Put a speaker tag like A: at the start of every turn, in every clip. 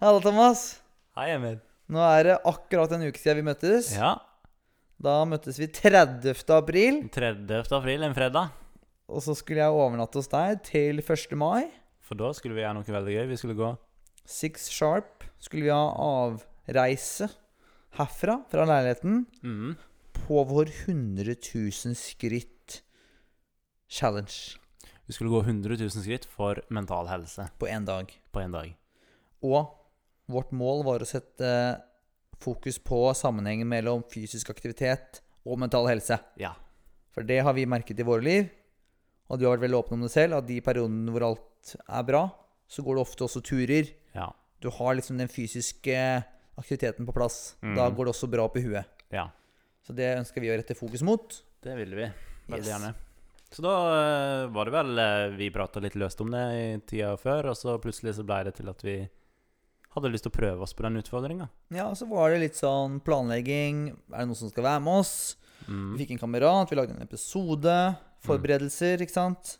A: Hallo, Thomas.
B: Hei, Emil.
A: Nå er det akkurat en uke siden vi møttes.
B: Ja,
A: Da møttes vi 30. april,
B: 30. april, en fredag.
A: og så skulle jeg overnatte hos deg til 1. mai.
B: For da skulle vi gjøre noe veldig gøy. Vi skulle gå
A: Six sharp skulle vi ha avreise herfra, fra leiligheten,
B: mm.
A: på vår 100 000 skritt challenge
B: Vi skulle gå 100 000 skritt for mental helse
A: på én dag.
B: på én dag.
A: Og vårt mål var å sette fokus på sammenhengen mellom fysisk aktivitet og mental helse.
B: Ja.
A: For det har vi merket i våre liv. Og du har vært veldig åpen om det selv, at de periodene hvor alt er bra, så går det ofte også turer.
B: Ja.
A: Du har liksom den fysiske aktiviteten på plass.
B: Mm.
A: Da går det også bra opp i huet.
B: ja.
A: Så det ønsker vi å rette fokus mot.
B: Det ville vi. Veldig
A: Yes.
B: gjerne. Så da eh, var det vel eh, Vi prata litt løst om det i tida før, og så plutselig så blei det til at vi hadde lyst til å prøve oss på den utfordringa.
A: Ja, og så var det litt sånn planlegging. Er det noen som skal være med oss?
B: Mm.
A: Vi fikk en kamerat, vi lagde en episode. Forberedelser, ikke sant?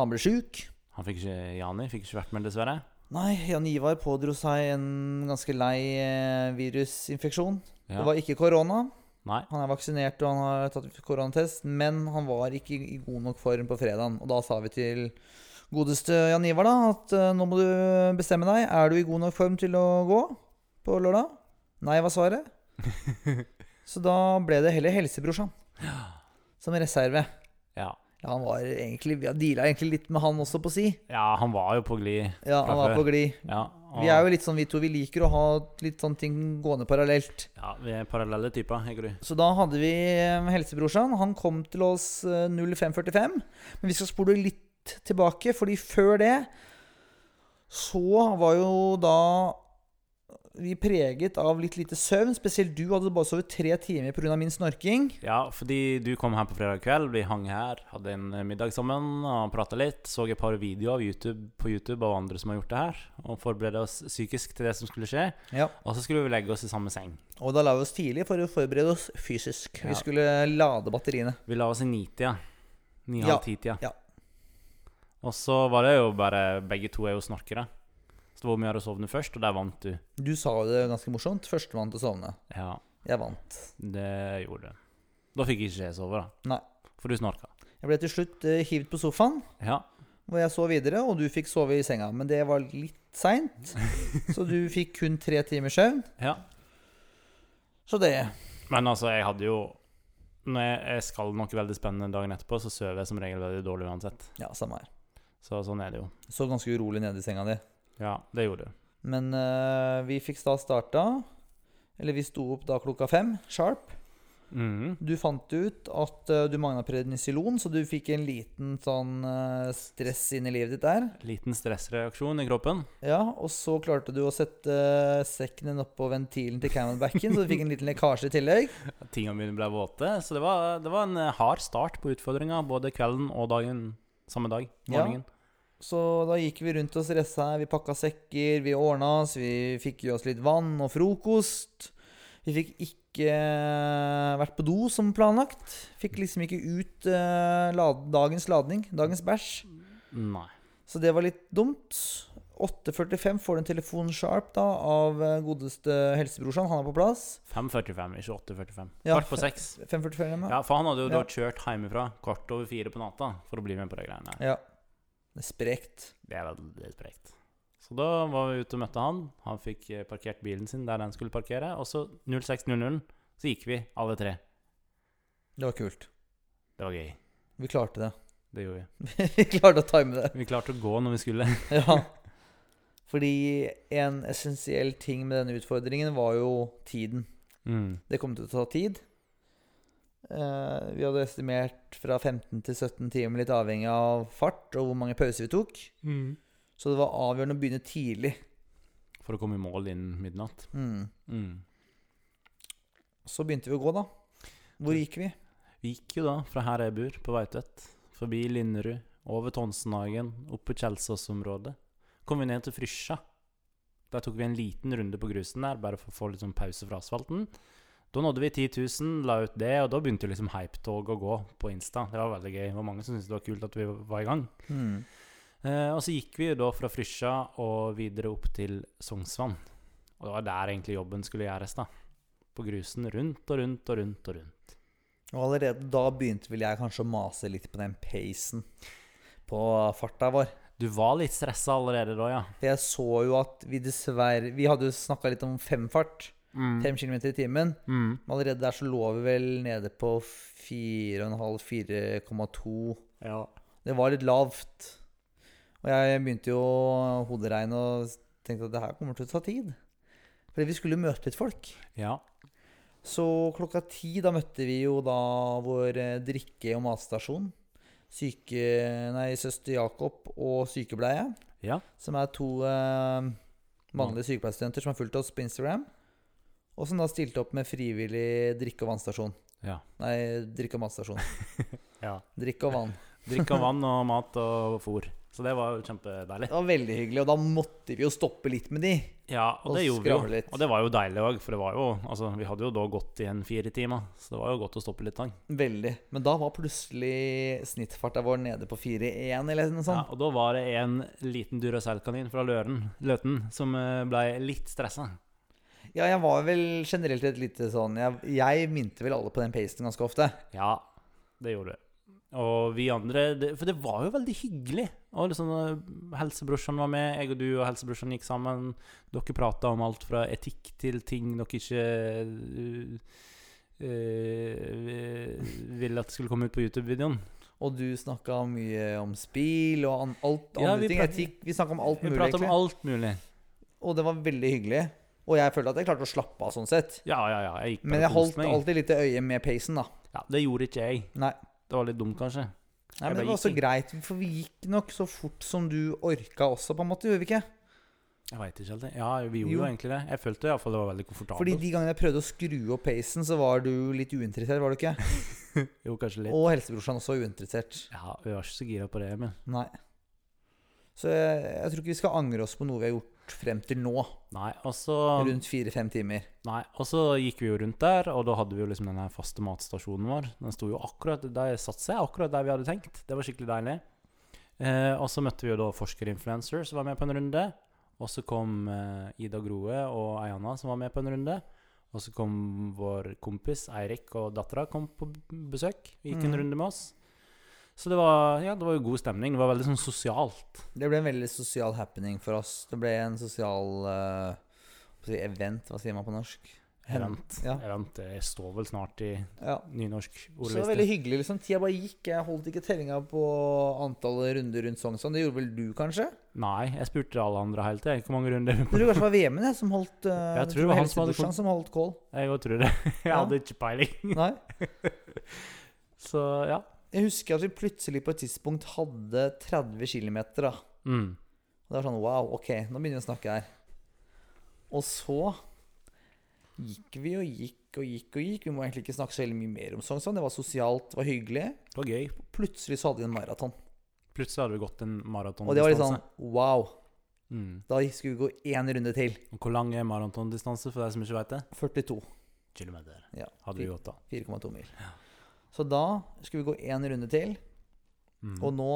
A: Han ble sjuk.
B: Han fikk ikke Jani fikk ikke vært med, dessverre.
A: Nei, Jan Ivar pådro seg en ganske lei eh, virusinfeksjon.
B: Ja.
A: Det var ikke korona.
B: Nei.
A: Han er vaksinert og han har tatt koronatest, men han var ikke i god nok form på fredagen. Og da sa vi til godeste Jan Ivar da, at eh, nå må du bestemme deg. Er du i god nok form til å gå på lørdag? Nei, var svaret. Så da ble det heller helsebrorsan som reserve.
B: Ja.
A: Ja, han var egentlig, Vi har deala egentlig litt med han også, på si.
B: ja, han var jo på glid.
A: Ja,
B: Fra
A: han var
B: før.
A: på glid.
B: Ja,
A: Vi er jo litt sånn, vi to, vi liker å ha litt sånne ting gående parallelt.
B: ja, vi er parallelle typer, jeg og du.
A: Så da hadde vi eh, helsebrorsan. Han kom til oss eh, 05.45. Men vi skal spole litt tilbake, fordi før det så var jo da vi preget av litt lite søvn. Spesielt du hadde bare sovet tre timer pga. min snorking.
B: Ja, fordi du kom her på fredag kveld, vi hang her, hadde en eh, middag sammen og prata litt. Så et par videoer av YouTube, på YouTube av andre som har gjort det her, og forberedte oss psykisk til det som skulle skje.
A: Ja.
B: Og så skulle vi legge oss i samme seng.
A: Og da la vi oss tidlig for å forberede oss fysisk.
B: Ja.
A: Vi skulle lade batteriene.
B: Vi la oss i nitida. Ni
A: Ja,
B: halv ti-tida.
A: ja.
B: Og så var det jo bare Begge to er jo snorkere. Så det var om å gjøre å sovne først, og der vant du.
A: Du sa jo det ganske morsomt. Førstemann til å sovne.
B: Ja,
A: Jeg vant.
B: det gjorde du. Da fikk ikke jeg sove, da.
A: Nei.
B: For du snorka.
A: Jeg ble til slutt eh, hivd på sofaen.
B: Ja.
A: hvor jeg sov videre, og du fikk sove i senga. Men det var litt seint, så du fikk kun tre timers søvn.
B: ja.
A: Så det
B: Men altså, jeg hadde jo Når jeg, jeg skal noe veldig spennende dagen etterpå, så sover jeg som regel veldig dårlig uansett.
A: Ja, samme her.
B: Så sånn er det jo.
A: Så ganske urolig nede i senga di.
B: Ja, det gjorde du.
A: Men eh, vi fikk da starta. Eller vi sto opp da klokka fem, sharp.
B: Mhm.
A: Du fant ut at eh, du mangla prednisolon, så du fikk en liten sånn eh, stress inn i livet ditt der.
B: Liten stressreaksjon i kroppen.
A: Ja, og så klarte du å sette eh, sekken din oppå ventilen til camelbacken, så du fikk en liten lekkasje i tillegg.
B: Tingene mine ble våte. Så det var, det var en eh, hard start på utfordringa, både kvelden og dagen samme dag.
A: Ja.
B: Morgenen.
A: Så da gikk vi rundt og stressa. Vi pakka sekker, vi ordna oss, vi fikk i oss litt vann og frokost. Vi fikk ikke eh, vært på do som planlagt. Fikk liksom ikke ut eh, lad dagens ladning, dagens bæsj.
B: Nei.
A: Så det var litt dumt. 8.45 får du en telefon sharp da av eh, godeste helsebrorsan. Han er på plass.
B: 5.45, ikke 8.45.
A: Ja.
B: Kvart på seks.
A: 5.45 hjemme.
B: Ja, for han hadde jo da
A: Ja.
B: kjørt hjemmefra kvart over fire på natta for å bli med på de greiene. her.
A: Ja. Det er sprekt.
B: Det er veldig sprekt. Så da var vi ute og møtte han. Han fikk eh, parkert bilen sin der den skulle parkere. Og så 06.00 så gikk vi, alle tre.
A: Det var kult.
B: Det var gøy.
A: Vi klarte det.
B: Det gjorde vi.
A: vi klarte å time det.
B: Vi klarte å gå når vi skulle.
A: Ja. Fordi en essensiell ting med denne utfordringen var jo tiden.
B: Mm.
A: Det kom til å ta tid. Eh, vi hadde estimert fra 15 til 17 timer, litt avhengig av fart og hvor mange pauser vi tok. Så det var avgjørende å begynne tidlig.
B: For å komme i mål innen midnatt.
A: Mm.
B: Mm.
A: Så begynte vi å gå, da. Hvor gikk vi?
B: Vi gikk jo da fra her jeg bor, på Veitvet, forbi Linderud, over Tonsenhagen, opp på Kjelsås-området. Kom vi ned til Frysja. Der tok vi en liten runde på grusen der, bare for å få litt sånn pause fra asfalten. Da nådde vi 10 000, la ut det, og da begynte jo liksom
A: Mm.
B: hypetog å gå på Insta. Det var veldig gøy. Det var mange som syntes det var kult at vi var i gang. Eh, og så gikk vi jo da fra Frysja og videre opp til Sognsvann. Og det var der egentlig jobben skulle gjøres, da. På grusen rundt og rundt og rundt og rundt.
A: Og allerede da begynte vel jeg kanskje å mase litt på den pacen på farta vår.
B: Du var litt stressa allerede da, ja.
A: For jeg så jo at vi dessverre Vi hadde jo snakka litt om femfart.
B: Mm.
A: Fem kilometer i timen.
B: Mm.
A: Men allerede der så lå vi vel nede på 4,5-4,2.
B: Ja.
A: Det var litt lavt. Og jeg begynte jo å hoderegne og tenkte at det her kommer til å ta tid. Fordi vi skulle jo møte litt folk.
B: ja.
A: Så klokka ti da møtte vi jo da vår eh, drikke- og matstasjon. Syke, nei, søster Jakob og sykepleie,
B: Ja.
A: som er to eh,
B: Mm.
A: mannlige sykepleiestudenter som har fulgt oss på Instagram. Og som da stilte opp med frivillig drikke- og vannstasjon.
B: Ja.
A: Nei, drikke- og matstasjon.
B: ja.
A: Drikke og vann.
B: Drikke vann og mat og fôr. Så det var jo kjempedeilig.
A: Det var veldig hyggelig, og da måtte vi jo stoppe litt med de.
B: Ja, og
A: Og
B: det gjorde vi jo.
A: skravle litt.
B: Og det var jo deilig òg, for det var jo Altså, vi hadde jo da gått igjen fire timer, så det var jo godt å stoppe litt. da.
A: Veldig. Men da var plutselig snittfarta vår nede på 4,1 eller noe
B: Ja,
A: sånt.
B: og da var det en liten Duracell-kanin fra Løren, Løten som eh, ble litt stressa.
A: Ja. jeg var vel generelt et lite sånn Jeg, jeg minte vel alle på den pacen ganske ofte.
B: Ja, det gjorde det. Og vi andre det, For det var jo veldig hyggelig. Og liksom, eh, Helsebrorsan var med, jeg og du og helsebrorsan gikk sammen. Dere prata om alt fra etikk til ting dere ikke eh, eh, ville at skulle komme ut på YouTube-videoen.
A: Og du snakka mye om spill og an, alt
B: Ja, vi
A: andre ting.
B: prat-
A: Etikk. Vi snakka om alt
B: Vi
A: mulig,
B: prata om
A: egentlig.
B: alt mulig.
A: Og det var veldig hyggelig. Og jeg følte at jeg klarte å slappe av sånn sett.
B: Ja, ja, ja. Jeg gikk bare
A: Men jeg
B: og koste
A: holdt
B: meg.
A: alltid litt i øye med pacen, da.
B: Ja, det gjorde ikke jeg.
A: Nei.
B: Det var litt dumt, kanskje.
A: Nei,
B: Jeg
A: men
B: bare
A: det var
B: gikk
A: også greit, for vi gikk nok så fort som du orka også, på en måte, gjorde vi ikke?
B: Jeg veit ikke helt. Ja, vi gjorde
A: Jo.
B: jo egentlig det. Jeg følte iallfall det var veldig komfortabelt.
A: Fordi de gangene jeg prøvde å skru opp pacen, så var du litt uinteressert, var du ikke?
B: Jo, kanskje litt.
A: Og helsebrorsan også var uinteressert.
B: Ja, vi var ikke så gira på det, men
A: Nei. Så jeg, jeg tror ikke vi skal angre oss på noe vi har gjort frem til nå,
B: Nei, og så
A: rundt fire-fem timer.
B: Nei, og så gikk vi jo rundt der, og da hadde vi jo liksom den her faste matstasjonen vår. Den sto jo akkurat der satte seg akkurat der vi hadde tenkt. Det var skikkelig deilig. Eh, og så møtte vi jo da forskerinfluencer som var med på en runde. Og så kom eh, Ida Groe og Eianna som var med på en runde. Og så kom vår kompis Eirik og dattera kom på b- besøk. Vi gikk en
A: Mhm.
B: runde med oss. Så det var, ja, det var jo god stemning. Det var veldig sånn sosialt.
A: Det ble en veldig sosial happening for oss. Det ble en sosial eh, hva skal jeg si, event, hva sier man på norsk? Hen-
B: Event.
A: Ja.
B: Event. Jeg står vel snart i
A: ja.
B: nynorsk
A: Så det var veldig hyggelig. liksom. Tida bare gikk. Jeg holdt ikke tellinga på antallet runder rundt Sognsvann. Det gjorde vel du, kanskje?
B: Nei, jeg spurte alle andre helt til. Hvor mange runder
A: Jeg tror kanskje det var VM-en jeg som holdt uh,
B: Jeg tror det var han som hadde
A: helsebrorsan som holdt kål.
B: Jeg òg tror det. Jeg
A: Ja.
B: hadde ikke peiling.
A: Nei.
B: Så ja.
A: Jeg husker at vi plutselig på et tidspunkt hadde 30 km. Da.
B: Mm.
A: Og det var sånn wow, ok, nå begynner vi å snakke her. Og så gikk vi og gikk og gikk og gikk. Vi må egentlig ikke snakke så veldig mye mer om Sognsvann. Det var sosialt, det var hyggelig.
B: Det var gøy.
A: Plutselig så hadde vi en maraton.
B: Plutselig hadde vi gått en maratondistanse.
A: Og det var litt sånn wow.
B: mm.
A: Da skulle vi gå én runde til.
B: Og Hvor lang er maratondistanse, for deg som ikke veit det?
A: 42.
B: Kilometer.
A: Ja.
B: Hadde vi gått, da.
A: 4,2 mil. Så da skulle vi gå én runde til.
B: Mm.
A: Og nå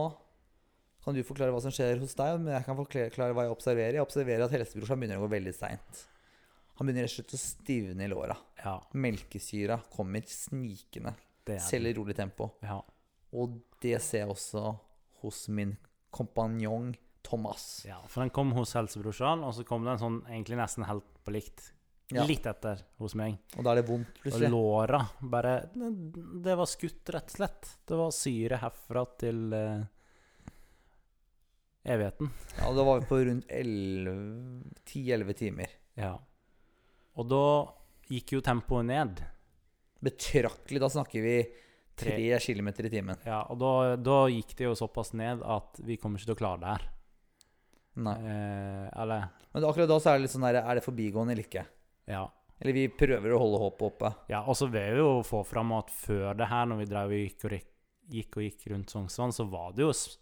A: kan du forklare hva som skjer hos deg, men jeg kan forklare hva jeg observerer. Jeg observerer at helsebrorsan begynner å gå veldig seint. Han begynner rett og slett å stivne i låra.
B: Ja,
A: Melkesyra kommer snikende,
B: det er
A: selv i rolig tempo.
B: Ja.
A: Og det ser jeg også hos min kompanjong Thomas.
B: ja. For den kom hos helsebrorsan, og så kom den sånn egentlig nesten helt på likt.
A: Ja.
B: Litt etter hos meg.
A: Og da er det vondt,
B: Og
A: plutselig.
B: låra bare Det var skutt, rett og slett. Det var syre herfra til eh, evigheten.
A: Ja, Da var vi på rundt 11 10-11 timer.
B: Ja. Og da gikk jo tempoet ned.
A: Betraktelig. Da snakker vi 3
B: Tre.
A: km i timen.
B: Ja, og da, da gikk det jo såpass ned at vi kommer ikke til å klare det her.
A: Nei.
B: Eh, eller
A: Men akkurat da så er det litt sånn der, Er det forbigående eller ikke?
B: ja.
A: Eller vi prøver å holde håpet oppe.
B: ja. Og så vil jeg jo få fram at før det her, når vi drev og gikk og gikk, gikk, og gikk rundt Sognsvann, så var det jo s-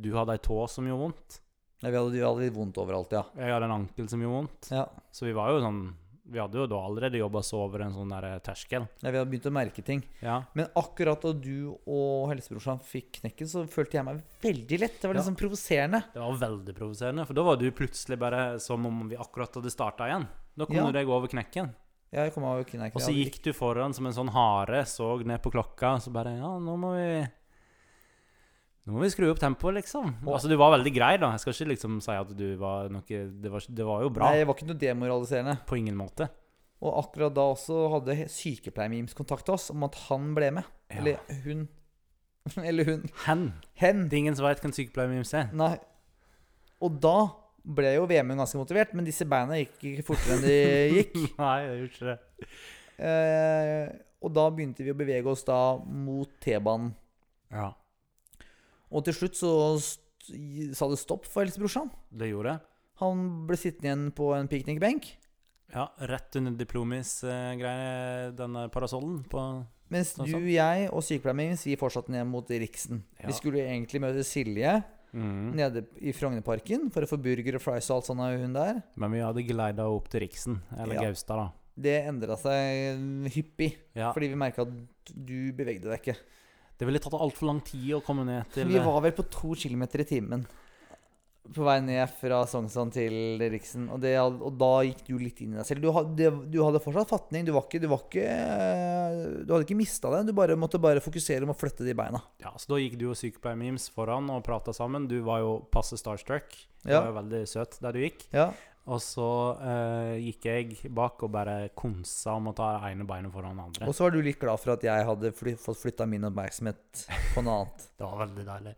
B: Du hadde ei tå som gjorde vondt.
A: Ja, vi hadde, vi hadde litt vondt overalt, ja.
B: Jeg hadde en ankel som gjorde vondt.
A: ja.
B: Så vi var jo sånn Vi hadde jo da allerede jobba oss over en sånn der terskel.
A: Ja, vi hadde begynt å merke ting.
B: Ja.
A: Men akkurat da du og helsebrorsan fikk knekken, så følte jeg meg veldig lett. Det var
B: Ja.
A: liksom provoserende.
B: Det var veldig provoserende, for da var du plutselig bare som om vi akkurat hadde starta igjen. Da kom
A: Ja.
B: du deg over knekken,
A: Ja, jeg kom av knekken.
B: og så
A: Jeg hadde
B: gikk du foran som en sånn hare, så ned på klokka, og så bare Ja, nå må vi Nå må vi skru opp tempoet, liksom.
A: Og-
B: Altså, du var veldig grei, da. Jeg skal ikke liksom si at du var noe Det var, det var jo bra.
A: Nei, det var ikke noe demoraliserende.
B: På ingen måte.
A: Og akkurat da også hadde he- sykepleiermemes kontakta oss om at han ble med.
B: Ja.
A: Eller hun. Eller hun.
B: Hen.
A: Hen.
B: Det er ingen som veit hvem sykepleiermims er.
A: Nei. Og da ble jo Vemund ganske motivert, men disse beina gikk ikke fortere enn de gikk.
B: Nei, det gjorde ikke det.
A: Eh, og da begynte vi å bevege oss da mot T-banen.
B: Ja,
A: Og til slutt så st sa det stopp for helsebrorsan.
B: det gjorde jeg.
A: Han ble sittende igjen på en piknikbenk,
B: Ja, rett under diplomis eh, greie, denne parasollen på
A: mens
B: Sånn,
A: du,
B: sånn.
A: jeg og sykepleieren min vi fortsatte ned mot Riksen.
B: Ja.
A: Vi skulle jo egentlig møte Silje
B: mm.
A: nede i Frognerparken for å få burger og fries og alt sånt av hun der.
B: Men vi hadde gleida opp til Riksen, eller
A: Ja.
B: Gaustad, da.
A: Det endra seg hyppig,
B: Ja.
A: fordi vi merka at du bevegde deg ikke.
B: Det ville tatt altfor lang tid å komme ned til
A: Vi var vel på to kilometer i timen på vei ned fra Sognsvann til Riksen. Og, det, had- og da gikk du litt inn i deg selv. Du hadde, du hadde fortsatt fatning. Du, var ikke, du, var ikke, eh, du hadde ikke mista det. Du bare, måtte bare fokusere om å flytte de beina.
B: Ja, så da gikk du og sykepleiermims foran og prata sammen. Du var jo passe starstruck. Du
A: Ja.
B: var jo veldig søt der du gikk.
A: Ja,
B: Og så eh, gikk jeg bak og bare konsa om å ta ene beinet foran det andre.
A: Og så var du litt glad for at jeg hadde fly, fått flytta min oppmerksomhet på noe annet.
B: Det var veldig deilig.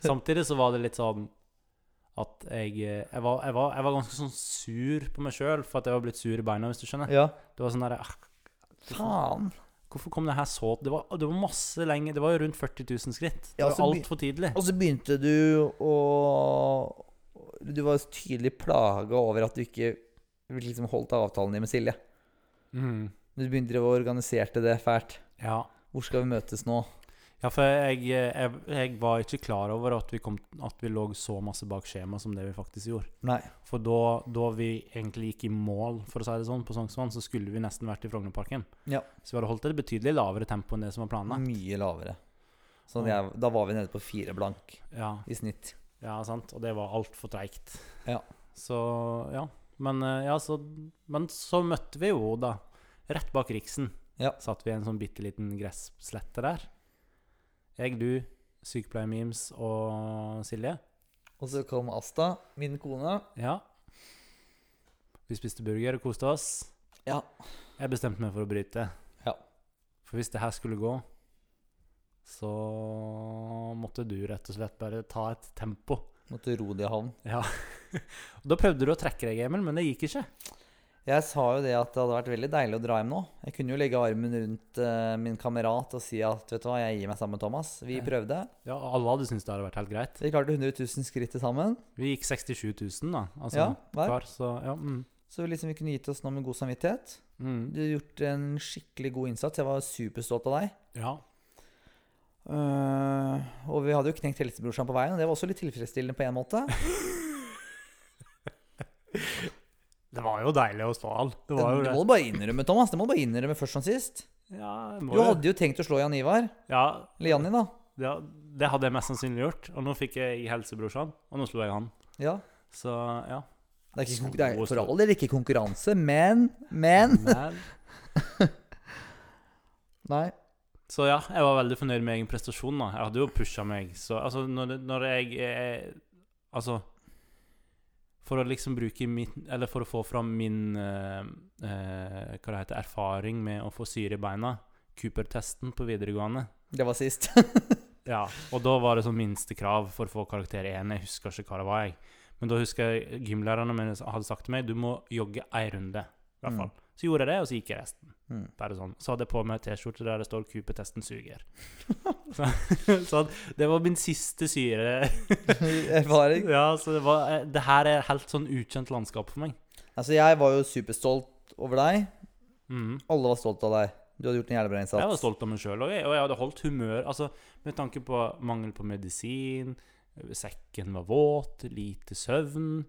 B: Samtidig så var det litt sånn at jeg Jeg var, jeg var, jeg var ganske sånn sur på meg sjøl for at jeg var blitt sur i beina, hvis du skjønner.
A: Ja,
B: Det var sånn der, «Ah,
A: faen.
B: Hvorfor kom det her så Det var, det var masse lenge Det var jo rundt 40 000 skritt. Det
A: Ja,
B: var
A: så
B: altfor tidlig.
A: Og så begynte du å Du var tydelig plaga over at du ikke liksom holdt avtalen din med Silje.
B: Mm.
A: Du begynte å organisere det fælt.
B: Ja.
A: Hvor skal vi møtes nå?
B: ja, for jeg, jeg, jeg var ikke klar over at vi, kom, at vi lå så masse bak skjema som det vi faktisk gjorde.
A: Nei.
B: For da, da vi egentlig gikk i mål, for å si det sånn, på Sognsvann, så skulle vi nesten vært i Frognerparken.
A: Ja.
B: Så vi hadde holdt et betydelig lavere tempo enn det som var planlagt.
A: Mye lavere. Sånn jeg, da var vi nede på fire blank
B: Ja.
A: i snitt.
B: Ja, sant. Og det var altfor treigt.
A: Ja.
B: Så ja. Men, eh, ja så, men så møtte vi jo, da. Rett bak Riksen
A: Ja.
B: satt vi i en sånn bitte liten gresslette der. Jeg, du, sykepleiermemes og Silje.
A: Og så kom Asta, min kone.
B: Ja. Vi spiste burger og koste oss.
A: Ja.
B: Jeg bestemte meg for å bryte.
A: Ja.
B: For hvis det her skulle gå, så måtte du rett og slett bare ta et tempo.
A: Måtte ro det i havn.
B: Da prøvde du å trekke deg, Emil, men det gikk ikke.
A: Jeg sa jo det at det hadde vært veldig deilig å dra hjem nå. Jeg kunne jo legge armen rundt eh, min kamerat og si at vet du hva, jeg gir meg sammen med Thomas. Vi
B: Ja.
A: prøvde.
B: Ja, alle hadde syntes det hadde vært helt greit.
A: Vi klarte 100 000 skritt til sammen.
B: Vi gikk 67 000, da. Altså,
A: ja, hver.
B: hver, så, ja, mm,
A: Så liksom vi kunne gitt oss nå med god samvittighet.
B: mm,
A: Du har gjort en skikkelig god innsats. Jeg var superstolt av deg.
B: ja.
A: Eh, og vi hadde jo knekt helsebrorsan på veien, og det var også litt tilfredsstillende på en måte.
B: Det var jo deilig å stå all. Det
A: Det
B: var jo det.
A: må du bare innrømme, Thomas. Det må du bare innrømme først som sist.
B: Ja, jeg må
A: Du hadde jo tenkt å slå Jan Ivar.
B: ja,
A: Eller Janni, da.
B: ja, det hadde jeg mest sannsynlig gjort. Og nå fikk jeg helsebrorsan, og nå slo jeg han.
A: Ja.
B: Så ja.
A: Det er, ikke, konkur- det er for all del ikke konkurranse, men Men!
B: Men,
A: Nei.
B: så ja, jeg var veldig fornøyd med egen prestasjon. da. Jeg hadde jo pusha meg. Så altså, når, det- når jeg eh, Altså For å liksom bruke min Eller for å få fram min eh, eh, Hva det heter Erfaring med å få syre i beina. Cooper-testen på videregående.
A: Det var sist.
B: Ja, og da var det sånn minstekrav for å få karakter 1. Jeg husker ikke hva det var. jeg. Men da husker jeg gymlærerne mine hadde sagt til meg du må jogge ei runde. i hvert
A: Mm.
B: fall. Så gjorde jeg det, og så gikk jeg resten.
A: Mm.
B: Bare sånn. Så hadde jeg på meg T-skjorte der det står 'Cooper-testen suger'. så, så det var min siste syre.
A: Erfaring.
B: Ja, så det, var, eh, det her er helt sånn ukjent landskap for meg.
A: Altså, jeg var jo superstolt over deg.
B: Mhm.
A: Alle var stolt av deg. Du hadde gjort en jævlig bra innsats.
B: Jeg var stolt av meg sjøl, og, jeg- og jeg hadde holdt humør. Altså, med tanke på mangel på medisin, sekken var våt, lite søvn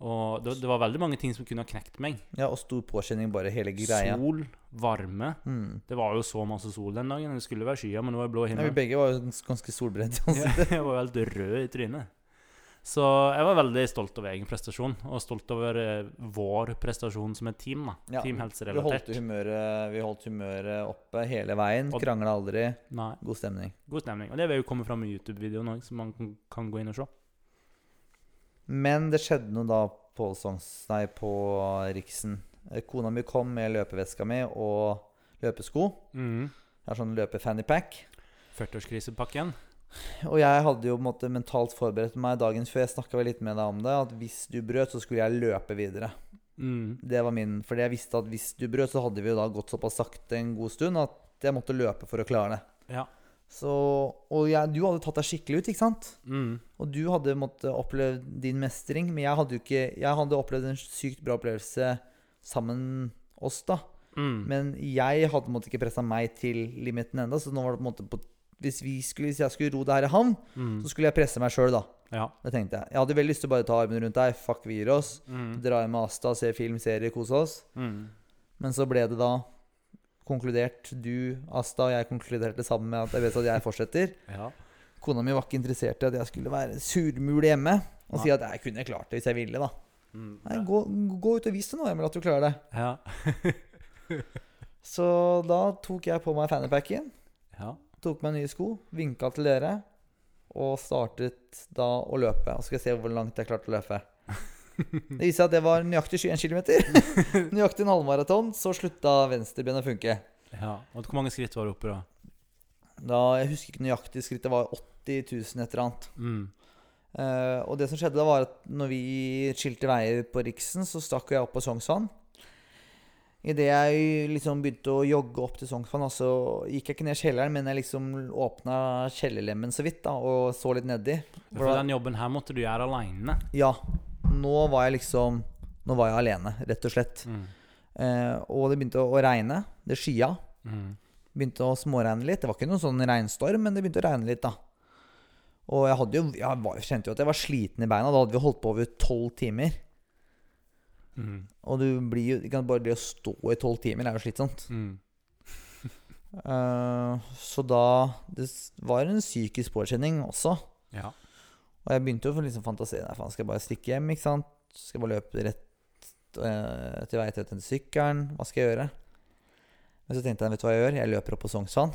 B: Og det, det var veldig mange ting som kunne ha knekt meg.
A: Ja, og stor påkjenning, bare hele greia.
B: Sol, varme.
A: Mm.
B: Det var jo så masse sol den dagen. Det skulle være skyer, men det var blå
A: Ja,
B: himmel.
A: vi begge var jo ganske solbrente. i ansiktet.
B: Ja, jeg var jo helt rød i trynet. Så jeg var veldig stolt over egen prestasjon, og stolt over eh, vår prestasjon som et team. da.
A: Ja,
B: team
A: Vi holdt,
B: helserelatert.
A: humøret, vi holdt humøret oppe hele veien.
B: Og-
A: Krangla aldri.
B: Nei,
A: God stemning.
B: god stemning. Og det vil jo komme fram i YouTube-videoen òg, som man kan, kan gå inn og se.
A: Men det skjedde noe da på, Ålesongs- nei, på Riksen. Eh, Kona mi kom med løpeveska mi og løpesko. Jeg har sånn løpe-fannypack.
B: 40-årskrisepakken.
A: Og jeg hadde jo på en måte mentalt forberedt meg dagen før. Jeg snakka litt med deg om det. At hvis du brøt, så skulle jeg løpe videre.
B: Mm.
A: Det var min, Fordi jeg visste at hvis du brøt, så hadde vi jo da gått såpass sakte en god stund at jeg måtte løpe for å klare det.
B: Ja.
A: Så, og jeg, du hadde tatt deg skikkelig ut, ikke sant?
B: Mm.
A: Og du hadde måttet oppleve din mestring, men jeg hadde jo ikke Jeg hadde opplevd en sykt bra opplevelse sammen oss, da.
B: Mm.
A: Men jeg hadde på en måte ikke pressa meg til limiten enda, så nå var det på en måte på hvis, vi skulle, hvis jeg skulle ro det her i havn,
B: Mm.
A: så skulle jeg presse meg sjøl, da.
B: Ja.
A: Det tenkte jeg. Jeg hadde veldig lyst til å bare ta armen rundt deg, fuck, vi gir oss.
B: Mm.
A: Dra hjem med Asta, se film, serie, kose oss.
B: Mm.
A: Men så ble det da konkludert Du, Asta og jeg konkluderte sammen med at det er best at jeg fortsetter.
B: ja.
A: Kona mi var ikke interessert i at jeg skulle være surmul hjemme og
B: Nei.
A: si at jeg kunne klart det hvis jeg ville, da.
B: Mm.
A: Nei, gå, gå ut og vis det nå, Emil, at du klarer det.
B: ja.
A: Så da tok jeg på meg fannypacken,
B: Ja.
A: tok meg nye sko, vinka til dere og startet da å løpe. Og så skal jeg se hvor langt jeg klarte å løpe. Det viser seg at det var nøyaktig 21 km. nøyaktig en halvmaraton. Så slutta venstrebenet å funke.
B: ja. Og hvor mange skritt var det oppe, da?
A: Da, Jeg husker ikke nøyaktig skritt, det var 80 000 et eller annet.
B: Mm.
A: Eh, og det som skjedde da var at når vi skilte veier på Riksen, så stakk jeg opp på Sognsvann. Idet jeg liksom begynte å jogge opp til Sognsvann, da, så gikk jeg ikke ned kjelleren, men jeg liksom åpna kjellerlemmen så vidt da, og så litt nedi.
B: For den jobben her måtte du gjøre aleine.
A: Ja, nå var jeg liksom Nå var jeg alene, rett og slett.
B: Mm.
A: Eh, og det begynte å regne. Det skya.
B: Mm.
A: Begynte å småregne litt. Det var ikke noen sånn regnstorm, men det begynte å regne litt, da. Og jeg, hadde jo, jeg var, kjente jo at jeg var sliten i beina. Da hadde vi holdt på over tolv timer.
B: Mm.
A: Og du blir jo ikke sant, Bare det å stå i tolv timer er jo slitsomt.
B: Mm.
A: Eh, så da Det s- var en psykisk påkjenning også.
B: Ja.
A: Og jeg begynte jo å liksom fantasere. Nei, faen, skal jeg bare stikke hjem? ikke sant? Skal jeg bare løpe rett eh, til vei til den sykkelen? Hva skal jeg gjøre? Men så tenkte jeg, vet du hva jeg gjør? Jeg løper opp på Sognsvann.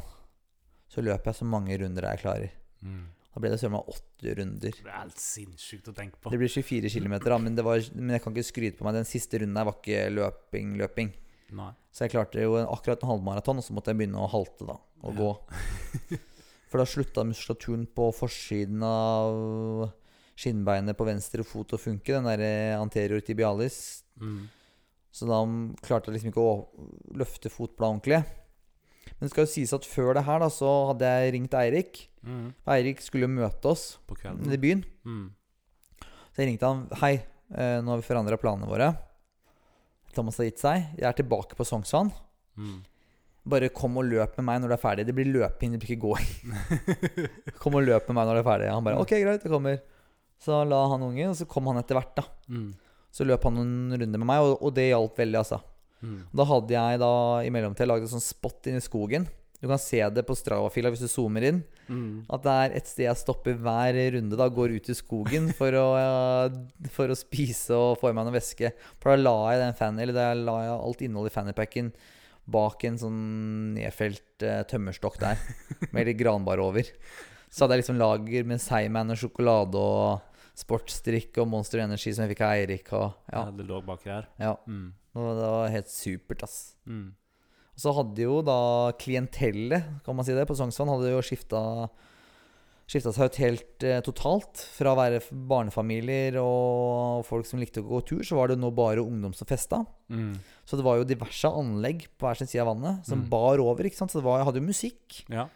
A: Så løper jeg så mange runder jeg klarer.
B: Mm.
A: Da ble det søren meg 80 runder.
B: Det er helt sinnssykt å tenke på.
A: Det blir 24 km, da, men, det var, men jeg kan ikke skryte på meg. Den siste runden her var ikke løping, løping.
B: Nei.
A: Så jeg klarte jo en- akkurat en halvmaraton, og så måtte jeg begynne å halte, da. Og
B: Ja.
A: gå. For da slutta muskulaturen på forsiden av skinnbeinet på venstre fot å funke, den derre anterior tibialis.
B: Mm.
A: Så da m- klarte jeg liksom ikke å løfte fotbladet ordentlig. Men det skal jo sies at før det her, da, så hadde jeg ringt Eirik.
B: Mm.
A: Eirik skulle jo møte oss
B: På
A: nede i
B: kvelden.
A: byen.
B: Mm.
A: Så jeg ringte han. Hei, eh, nå har vi forandra planene våre. Thomas har gitt seg. Jeg er tilbake på Sognsvann.
B: Mm.
A: Bare kom og løp med meg når du er ferdig. Det blir løping, det blir ikke gåing. kom og løp med meg når du er ferdig. Han bare OK, greit, jeg kommer. Så la han ungen, og så kom han etter hvert, da.
B: Mm.
A: Så løp han noen runder med meg, og, og det hjalp veldig, altså.
B: Mm.
A: Da hadde jeg da i mellomtida lagd en sånn spot inni skogen. Du kan se det på Strava-fila hvis du zoomer inn.
B: Mm.
A: At det er et sted jeg stopper hver runde, da. Går ut i skogen for å, eh, for å spise og få i meg noe væske. For da la jeg den fan, eller da la jeg alt innholdet i fannypacken bak en sånn nedfelt eh, tømmerstokk der. Med litt granbar over. Så hadde jeg liksom lager med Seigman og sjokolade og sportsdrikk og Monster Energy som jeg fikk av Eirik og Ja.
B: Ja. Det lå bak her.
A: ja.
B: Mm.
A: Det var- det var helt supert, ass.
B: Mm.
A: Og så hadde jo da klientellet, kan man si det, på Sognsvann hadde jo skifta Skifta seg ut helt eh, totalt. Fra å være f- barnefamilier og folk som likte å gå tur, så var det nå bare ungdom som festa.
B: Mm.
A: Så det var jo diverse anlegg på hver sin side av vannet som
B: Mm.
A: bar over. ikke sant? Så det var, jeg hadde jo musikk.
B: Ja.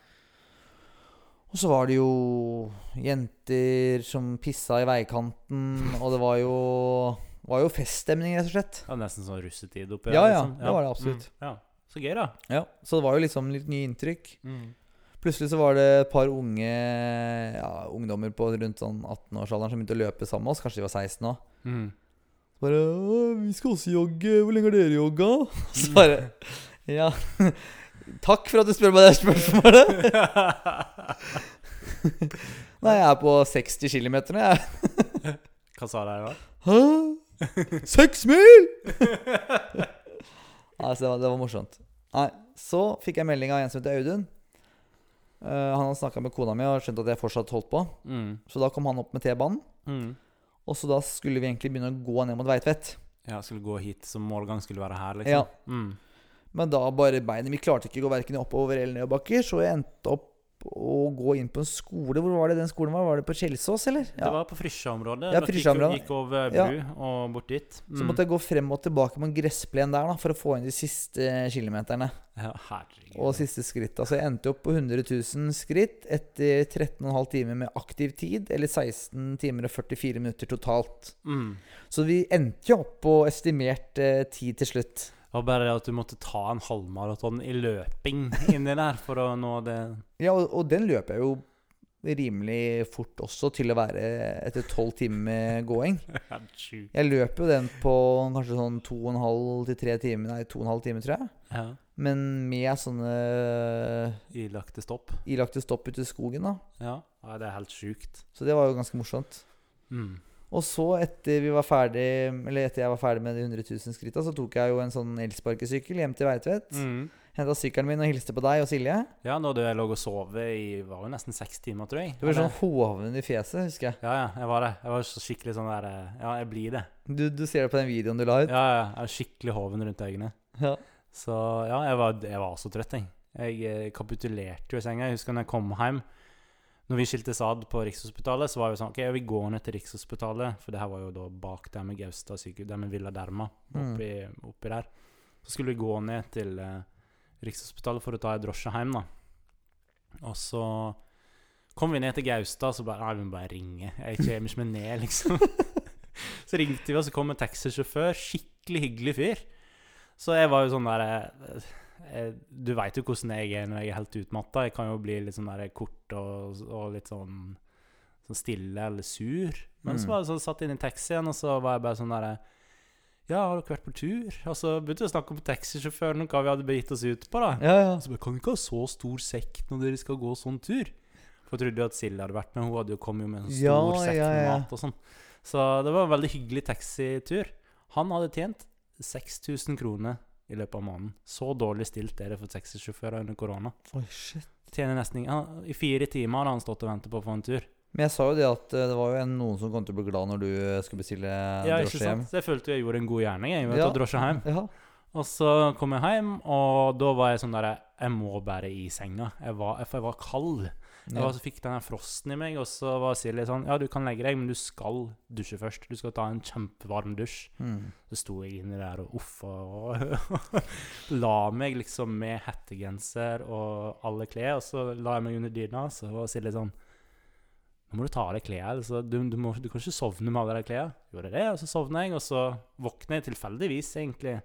A: Og så var det jo jenter som pissa i veikanten, og det var jo, var jo feststemning, rett og slett.
B: Det var nesten sånn russetid oppi
A: Ja,
B: her,
A: ja, det var det absolutt.
B: Mm. Ja. Så gøy, da.
A: Ja, Så det var jo liksom litt nye inntrykk.
B: Mm.
A: Plutselig så var det et par unge
B: Mm.
A: ja, ungdommer på rundt sånn 18-årsalderen som begynte å løpe sammen med oss. Kanskje de var 16 nå. Bare «Å, 'Vi skal også jogge. Hvor lenge har dere jogga?' Så bare Ja. Takk for at du spør meg det her spørsmålet. Nei, jeg er på 60 km nå, jeg.
B: Hva sa de da?
A: Hæ? Seks mil?! Nei, så det var, det var morsomt. Nei, så fikk jeg melding av en som heter Audun. Eh, han hadde snakka med kona mi og skjønt at jeg fortsatt holdt på.
B: Mm.
A: Så da kom han opp med T-banen,
B: Mm.
A: og så da skulle vi egentlig begynne å gå ned mot Veitvet.
B: Ja, skulle gå hit, så målgang skulle være her, liksom.
A: Ja.
B: Mm.
A: Men da bare beinet Vi klarte ikke å gå verken oppover eller nedoverbakker, så jeg endte opp å gå inn på en skole. Hvor var det den skolen var? Var det på Kjelsås, eller?
B: Det var på Frysja-området.
A: Ja,
B: Dere gikk-
A: Frysja-området.
B: Gikk over bru
A: Ja.
B: og bort dit. Mm.
A: Så måtte jeg gå frem og tilbake med en gressplen der da, for å få inn de siste kilometerne.
B: ja, herregud.
A: Og siste skritt. Altså, jeg endte opp på 100 000 skritt etter 13,5 timer med aktiv tid, eller 16 timer og 44 minutter totalt.
B: Mm.
A: Så vi endte jo opp på estimert eh, tid til slutt.
B: Det var bare det at du måtte ta en halvmaraton i løping inni der for å nå det
A: Ja, og, og den løp jeg jo rimelig fort også, til å være etter 12 timer med gåing.
B: Helt sjukt.
A: Jeg løp jo den på kanskje sånn 2,5 til 3 timer, nei, 2,5 timer, tror jeg.
B: Ja.
A: Men med sånne
B: Ilagte stopp.
A: ilagte stopp ute i skogen, da.
B: Ja. ja, det er helt sjukt.
A: Så det var jo ganske morsomt.
B: Mm.
A: Og så, etter, vi var ferdig, eller etter jeg var ferdig med de 100 000 skritta, så tok jeg jo en sånn elsparkesykkel hjem til Veitvet.
B: Mm.
A: Henta sykkelen min og hilste på deg og Silje.
B: Ja, da jeg lå og sov i var jo nesten seks timer, tror jeg.
A: Du var
B: Eller-
A: sånn hoven i fjeset, husker jeg.
B: Ja, ja, jeg var det. Jeg var så skikkelig sånn der eh, Ja, jeg blir det.
A: Du, du ser det på den videoen du la
B: Ja,
A: ut.
B: ja, jeg er skikkelig hoven rundt øynene.
A: Ja.
B: Så ja, jeg var, jeg var så trøtt, jeg. Jeg eh, kapitulerte jo i senga. Jeg husker når jeg kom hjem Når vi skiltes ad på Rikshospitalet, så var vi sånn OK, vi går ned til Rikshospitalet, for det her var jo da bak der med Gaustad sykehus, der med Villa Derma, oppi, oppi der. Så skulle vi gå ned til eh, Rikshospitalet for å ta ei drosje hjem, da. Og så kom vi ned til Gaustad, så bare Nei, vi må bare ringe. Jeg kommer ikke meg ned, liksom. så ringte vi, og så kom en taxisjåfør. Skikkelig hyggelig fyr. Så jeg var jo sånn der eh, eh, Du veit jo hvordan jeg er når jeg er helt utmatta. Jeg kan jo bli litt sånn der kort og, og litt sånn, sånn stille eller sur. Men
A: Mm.
B: så var jeg sånn, satt inn i taxien, og så var jeg bare sånn derre ja, har dere vært på tur? Og så begynte vi å snakke om taxisjåføren og hva vi hadde begitt oss ut på. da.
A: Ja, ja.
B: Og så bare, Altså, kan vi ikke ha så stor sekk når dere skal gå sånn tur? For jeg trodde jo at Silje hadde vært med, hun hadde jo kommet jo med en stor
A: Ja,
B: sekk
A: ja,
B: med
A: ja.
B: mat og sånn. Så det var en veldig hyggelig taxitur. Han hadde tjent 6000 kroner i løpet av måneden. Så dårlig stilt er det for taxisjåfører under korona.
A: Oi, shit.
B: Tjener nesten ing- han- I fire timer har han stått og ventet på å få en tur.
A: Men jeg sa jo det at eh, det var jo en, noen som kom til å bli glad når du eh, skulle bestille
B: Ja, ikke
A: drosje hjem.
B: sant? Så jeg følte jeg gjorde en god gjerning jeg, ved å
A: Ja.
B: ta drosje hjem.
A: Ja.
B: Og så kom jeg hjem, og da var jeg sånn der Jeg må bare i senga. Jeg var, for jeg var kald. Jeg
A: Ja.
B: var, så fikk den her frosten i meg, og så var Silje sånn Ja, du kan legge deg, men du skal dusje først. Du skal ta en kjempevarm dusj.
A: Mm.
B: Så sto jeg inni der og uffa og la meg liksom med hettegenser og alle klær, og så la jeg meg under dyna, og så var Silje sånn Nå må du ta av deg klærne. Altså. Du, du, må- du kan ikke sovne med alle de klærne. Gjorde det, og så sovna jeg, og så våkna jeg tilfeldigvis, egentlig,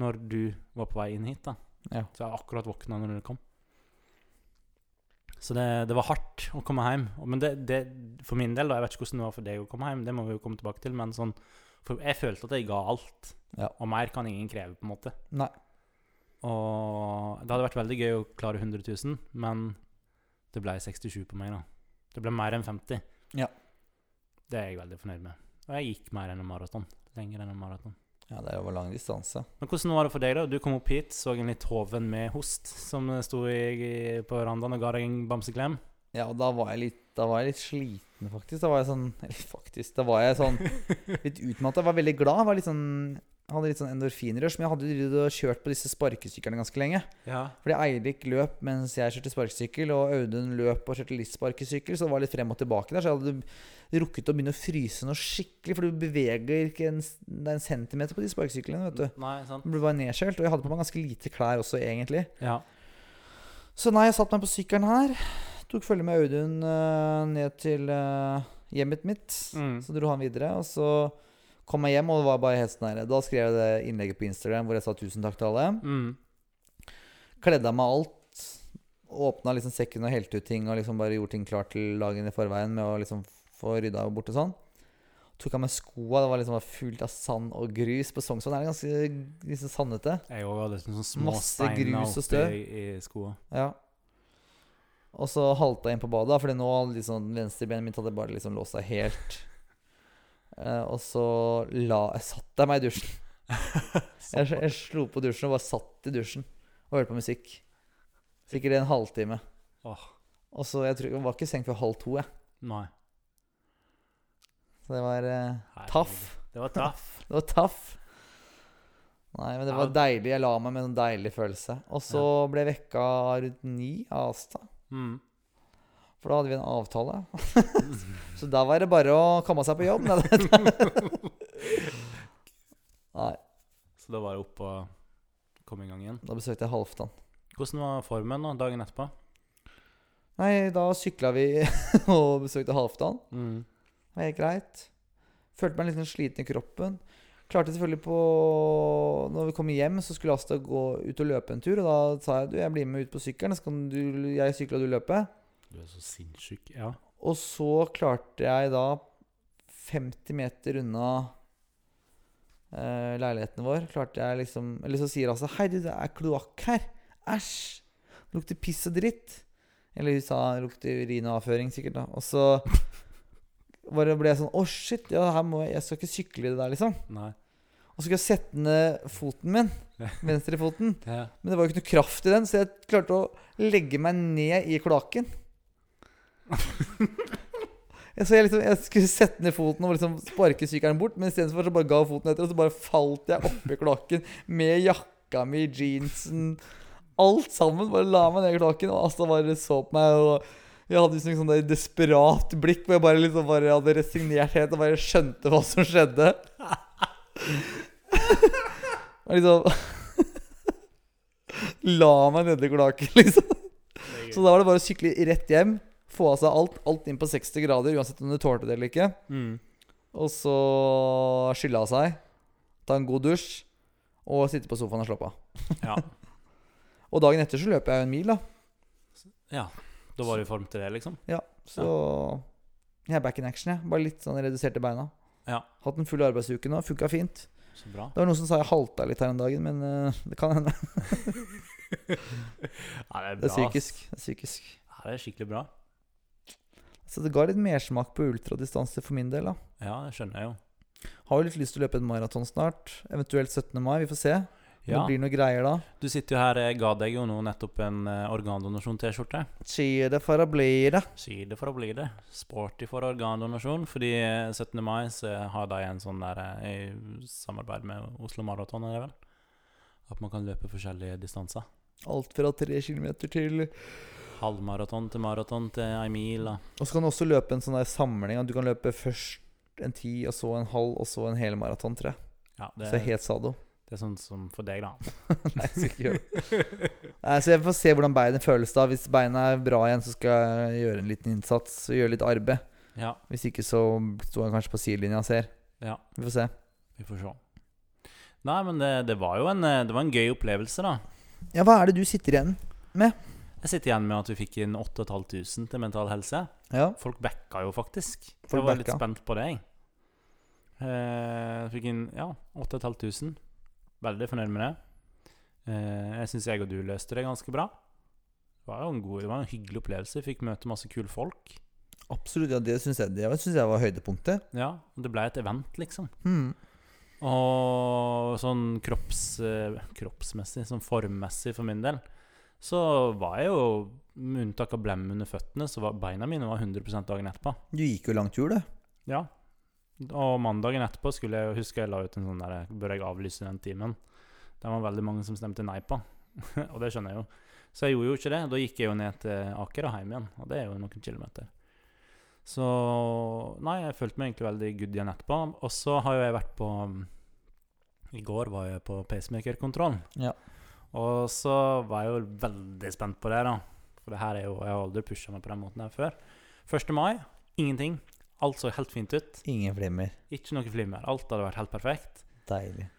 B: når du var på vei inn hit, da.
A: Ja.
B: Så jeg akkurat våkna når du kom. Så det, det var hardt å komme hjem. Og- Men det, det, for min del, da, jeg vet ikke hvordan det var for deg å komme hjem, det må vi jo komme tilbake til, men sånn for jeg følte at jeg ga alt.
A: Ja.
B: Og mer kan ingen kreve, på en måte.
A: Nei.
B: Og det hadde vært veldig gøy å klare 100 000, men det ble 67 på meg, da. Det ble mer enn 50.
A: Ja.
B: Det er jeg veldig fornøyd med. Og jeg gikk mer enn en maraton. Lenger enn en maraton.
A: ja, det var lang distanse.
B: Men hvordan var det for deg, da? Du kom opp hit, så en litt hoven med host som sto i, på verandaen og ga deg en bamseklem.
A: Ja, og da var jeg litt, da var jeg litt sliten, faktisk. Da var jeg sånn Eller faktisk, da var jeg sånn litt utmatta. Jeg var veldig glad. Jeg var litt sånn, hadde litt sånn endorfinrush. Men jeg hadde drevet og kjørt på disse sparkesyklene ganske lenge.
B: Ja.
A: Fordi Eirik løp mens jeg kjørte sparkesykkel, og Audun løp og kjørte litt sparkesykkel, så det var litt frem og tilbake der. Så jeg hadde rukket å begynne å fryse noe skikkelig, for du beveger ikke en, det er en centimeter på de sparkesyklene, vet du.
B: Nei, sant?
A: Du blir bare nedkjølt. Og jeg hadde på meg ganske lite klær også, egentlig.
B: Ja.
A: Så nei, jeg satt meg på sykkelen her. Tok følge med Audun eh, ned til eh, hjemmet mitt.
B: Mm.
A: Så dro han videre, og så kom jeg hjem, og det var bare helt sånn her. Da skrev jeg det innlegget på Instagram hvor jeg sa tusen takk til alle.
B: Mm.
A: Kledde av meg alt. Åpna liksom sekken og helte ut ting og liksom bare gjorde ting klart til dagen i forveien med å liksom få rydda bort og sånn. Tok av meg skoa. Det var liksom bare fullt av sand og grus. På Sognsvann er det ganske liksom sandete.
B: Jeg òg hadde sånne små
A: Masse
B: steiner
A: grus og
B: oppi
A: støv.
B: i, i skoa.
A: Ja. Og så halta jeg inn på badet, da, fordi nå liksom venstrebenet mitt hadde bare liksom låst seg helt. Eh, og så la jeg satt jeg meg i dusjen. Jeg, jeg slo på dusjen og bare satt i dusjen og hørte på musikk. Sikkert i en halvtime.
B: Åh.
A: Og så jeg, tror, jeg var ikke i seng før halv to, jeg.
B: Nei.
A: Så det var eh,
B: Herregud.
A: taff.
B: Det var taff.
A: Det var taff. Nei, men det var
B: Ja.
A: deilig. Jeg la meg med en sånn deilig følelse. Og så ble jeg vekka rundt ni av Asta,
B: Mm.
A: for da hadde vi en avtale. så da var det bare å komme seg på jobb. Nei, det- Nei,
B: Så da var det opp og kom i gang igjen.
A: da besøkte jeg Halvdan.
B: Hvordan var formen da, dagen etterpå?
A: Nei, da sykla vi og besøkte Halvdan.
B: Mm.
A: Det var helt greit. Følte meg litt sånn sliten i kroppen. Klarte selvfølgelig på Når vi kom hjem, så skulle Asta gå ut og løpe en tur. Og da sa jeg du, jeg blir med ut på sykkelen, så kan du, jeg sykle og du løper.
B: Du er så sinnssyk. Ja.
A: Og så klarte jeg da 50 meter unna eh, leiligheten vår Klarte jeg liksom Eller så sier Asta Hei, du, det er kloakk her. Æsj. Det lukter piss og dritt. Eller hun sa det lukter urin og avføring, sikkert. da Og så bare ble jeg sånn Å, shit. Ja, her må jeg Jeg skal ikke sykle i det der, liksom.
B: Nei.
A: Og så skulle jeg sette ned foten min. Venstrefoten.
B: Det,
A: Men det var jo ikke noe kraft i den, så jeg klarte å legge meg ned i kloakken. Jeg, så jeg, liksom, jeg skulle sette ned foten og liksom sparke sykkelen bort, men istedenfor så bare ga jeg foten etter, og så bare falt jeg oppi kloakken med jakka mi, jeansen Alt sammen. Bare la meg ned i kloakken, og Asta bare så på meg. og jeg hadde liksom et sånt der desperat blikk hvor jeg bare liksom bare hadde resignert helt og bare skjønte hva som skjedde. Og liksom La meg nedi kloakken, liksom. Så da var det bare å sykle rett hjem. Få av seg alt. Alt inn på 60 grader, uansett om du tålte det eller ikke.
B: mm.
A: Og så skylle av seg. Ta en god dusj. Og sitte på sofaen og slappe av.
B: ja.
A: Og dagen etter så løper jeg jo en mil, da.
B: Da var du i form til det, liksom?
A: Så jeg er back in action, jeg. Bare litt sånn reduserte beina.
B: Ja.
A: Hatt en full arbeidsuke nå. Funka fint.
B: Så bra.
A: Det var noen som sa jeg halta litt her om dagen, men eh, det kan hende.
B: Ja, det er
A: Det er
B: bra. ass.
A: psykisk. Det er psykisk.
B: Ja, det er skikkelig bra.
A: Så det ga litt mersmak på ultradistanse for min del, da.
B: Ja, det skjønner jeg jo.
A: Har jo litt lyst til å løpe en maraton snart. Eventuelt 17. mai. Vi får se. Om
B: Ja.
A: Det blir noe greier da.
B: Du sitter jo her, jeg ga deg jo nå nettopp en eh, organdonasjon-T-skjorte.
A: Cheer for å bli det.
B: Sier det for å bli det. Sporty for organdonasjon, fordi eh, 17. mai så har de en sånn der eh, i samarbeid med Oslo Maraton, er det vel? At man kan løpe forskjellige distanser.
A: Alt fra tre kilometer til Og
B: Halvmaraton til maraton til ei mil. da.
A: så kan du også løpe en sånn der samling. At du kan løpe først en ti, og så en halv, og så en hel maraton, tror jeg.
B: Ja,
A: Så
B: det,
A: det er helt sado.
B: det er sånn som for deg, da.
A: Nei, så ikke gjør det. Nei, Så jeg får se hvordan beina føles da. Hvis beina er bra igjen, så skal jeg gjøre en liten innsats og gjøre litt arbeid.
B: Ja,
A: Hvis ikke så står jeg kanskje på sidelinja og ser.
B: Ja.
A: Vi får se.
B: vi får se. Nei, men det, det var jo en, eh, det var en gøy opplevelse, da.
A: Ja, hva er det du sitter igjen?
B: Jeg sitter igjen med at vi fikk inn 8500 til Mental Helse.
A: Ja.
B: Folk backa jo faktisk.
A: Folk
B: jeg var litt
A: backa.
B: spent på det, jeg. Eh, fikk inn ja, 8500. Veldig fornøyd med det. Eh, jeg syns jeg og du løste det ganske bra. Det var jo en god, det var en hyggelig opplevelse. Vi fikk møte masse kule folk.
A: Absolutt. Ja, det syns jeg, det synes jeg var høydepunktet.
B: Ja, og Det ble et event, liksom.
A: Hmm.
B: Og sånn kropps, eh, kroppsmessig, sånn formmessig for min del, så var jeg jo Med unntak av blem under føttene, så var beina mine var 100 dagen etterpå.
A: Du gikk jo lang tur, du.
B: Ja. Og mandagen etterpå skulle jeg huske jeg la ut en sånn der Bør jeg avlyse den timen? Den var veldig mange som stemte nei på. og det skjønner jeg jo. Så jeg gjorde jo ikke det. Da gikk jeg jo ned til Aker og hjem igjen. Og det er jo noen kilometer. Så Nei, jeg følte meg egentlig veldig good igjen etterpå. Og så har jo jeg vært på I går var jeg på pacemakerkontrollen.
A: Ja.
B: Og så var jeg jo veldig spent på det, da. For det her er jo Jeg har aldri pusha meg på den måten her før. 1. mai ingenting. Alt så helt fint ut.
A: Ingen flimmer.
B: Ikke noe flimmer. Alt hadde vært helt perfekt.
A: Deilig.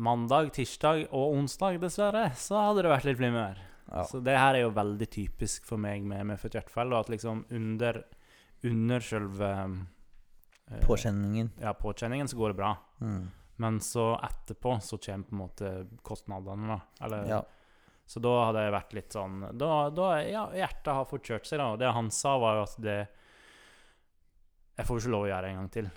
B: Mandag, tirsdag og onsdag, dessverre, så hadde det vært litt flimmer.
A: Ja.
B: Så det her er jo veldig typisk for meg med, med født hjertefeil, og at liksom under, under selve eh,
A: Påkjenningen.
B: ja, påkjenningen, så går det bra.
A: Mm.
B: Men så etterpå så kommer på en måte kostnadene, da. Eller,
A: Ja.
B: Så da hadde jeg vært litt sånn Da, da ja, hjertet har fått kjørt seg, da. Og det han sa, var jo at det Jeg får jo ikke lov å gjøre det en gang til.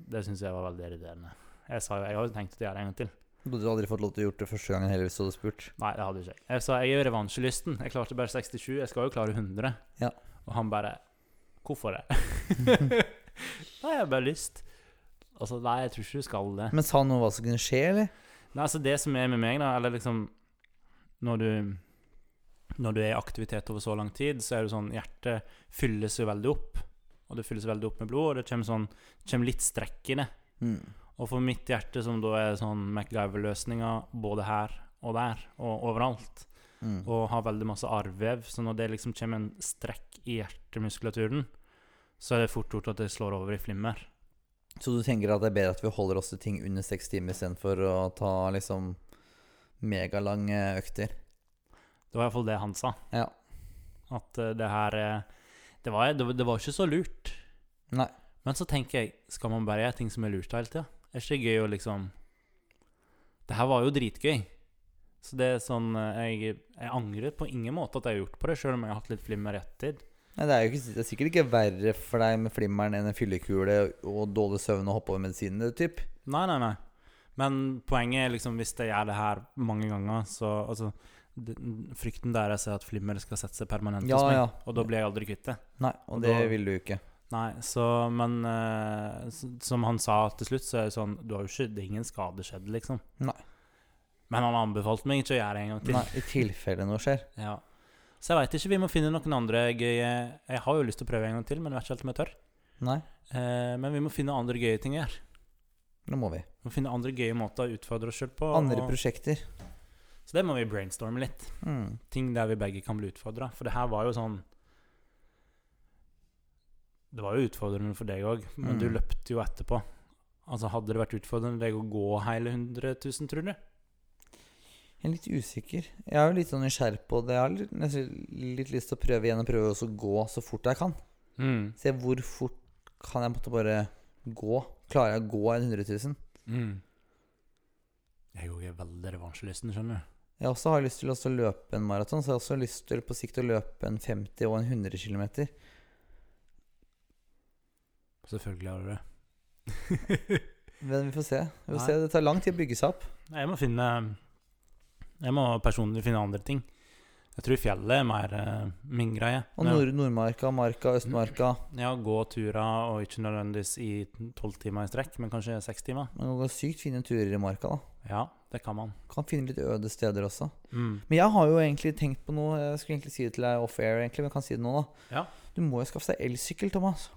B: Det syns jeg var veldig irriterende. Jeg sa jo jeg har jo tenkt å gjøre det en gang til.
A: Du hadde aldri fått lov til å gjort det første gangen heller hvis du hadde spurt.
B: Nei, det hadde jo ikke jeg. Jeg sa jeg er jo revansjelysten. Jeg klarte bare 67, jeg skal jo klare 100.
A: Ja.
B: Og han bare Hvorfor det? Nei, jeg har bare lyst. Altså, nei, jeg tror ikke du skal det.
A: Men sa han noe om hva som kunne skje, eller?
B: Nei, altså det som er med meg da, eller liksom Når du, når du er i aktivitet over så lang tid, så er det sånn Hjertet fylles jo veldig opp. Og det fylles veldig opp med blod, og det kommer, sånn, det kommer litt strekk i det.
A: Mm.
B: Og for mitt hjerte, som da er sånn MacGyver-løsninger både her og der, og overalt,
A: Mm.
B: og har veldig masse arvvev, så når det liksom kommer en strekk i hjertemuskulaturen, så er det fort gjort at det slår over i flimmer.
A: Så du tenker at det er bedre at vi holder oss til ting under seks timer istedenfor å ta liksom megalange økter?
B: Det var iallfall det han sa.
A: Ja.
B: At eh, det her eh, det var, det, var- det var ikke så lurt.
A: Nei.
B: Men så tenker jeg, skal man bare gjøre ting som er lurt hele tida? Er ikke det gøy å liksom Det her var jo dritgøy. Så det er sånn eh, Jeg, jeg angrer på ingen måte at jeg har gjort på det, sjøl om jeg har hatt litt flimmer i ettertid.
A: Nei, det er, jo ikke, det er sikkert ikke verre for deg med flimmeren enn en fyllekule og dårlig søvn og hoppe over medisinene, typ.
B: Nei, nei, nei. Men poenget er liksom, hvis jeg gjør det her mange ganger, så altså, det, Frykten deres er at flimmer skal sette seg permanent
A: Ja,
B: hos meg,
A: ja.
B: og da blir jeg aldri kvitt det.
A: Nei,
B: Og
A: og det
B: da-
A: vil du ikke.
B: Nei, så Men eh, s- som han sa til slutt, så er det sånn Du har jo ikke Det er ingen skade skjedd, liksom.
A: Nei.
B: Men han anbefalte meg ikke å gjøre det en gang til.
A: Nei, I tilfelle noe skjer.
B: Ja. Så jeg veit ikke. Vi må finne noen andre gøye Jeg har jo lyst til å prøve en gang til, men jeg vet ikke helt om jeg tør.
A: Nei,
B: Eh, men vi må finne andre gøye ting å gjøre.
A: nå må vi.
B: Vi må finne andre gøye måter å utfordre oss sjøl på.
A: Andre
B: og,
A: prosjekter.
B: så det må vi brainstorme litt.
A: Mm.
B: Ting der vi begge kan bli utfordra. For det her var jo sånn Det var jo utfordrende for deg òg, men du
A: Mm.
B: løpte jo etterpå. Altså Hadde det vært utfordrende deg å gå hele 100 000, tror du?
A: Jeg er litt usikker. Jeg er jo litt sånn nysgjerrig på det. Jeg har litt, nesten litt lyst til å prøve igjen og prøve også å gå så fort jeg kan.
B: Mm.
A: Se hvor fort kan jeg måtte bare gå. Klarer jeg å gå en 100 000?
B: Mm. Jeg òg er veldig revansjelysten, skjønner du.
A: Jeg også har lyst til også å løpe en maraton, så jeg har også lyst til på sikt å løpe en 50 og en 100 km.
B: Selvfølgelig har du det.
A: Men vi får se. Vi får
B: Nei.
A: se. Det tar lang tid å bygge seg opp.
B: jeg må finne Jeg må personlig finne andre ting. Jeg tror fjellet er mer eh, min greie.
A: Og
B: Når-
A: nord Nordmarka, Marka, Østmarka.
B: Ja, gå turer, og ikke nødvendigvis i tolv timer i strekk, men kanskje seks timer.
A: Man kan gå sykt fine turer i marka. da
B: Ja, det kan man.
A: Kan finne litt øde steder også.
B: Mm.
A: Men jeg har jo egentlig tenkt på noe Jeg skulle egentlig si det til deg off-air, egentlig, men jeg kan si det nå, da.
B: Ja.
A: Du må jo skaffe deg elsykkel, Thomas.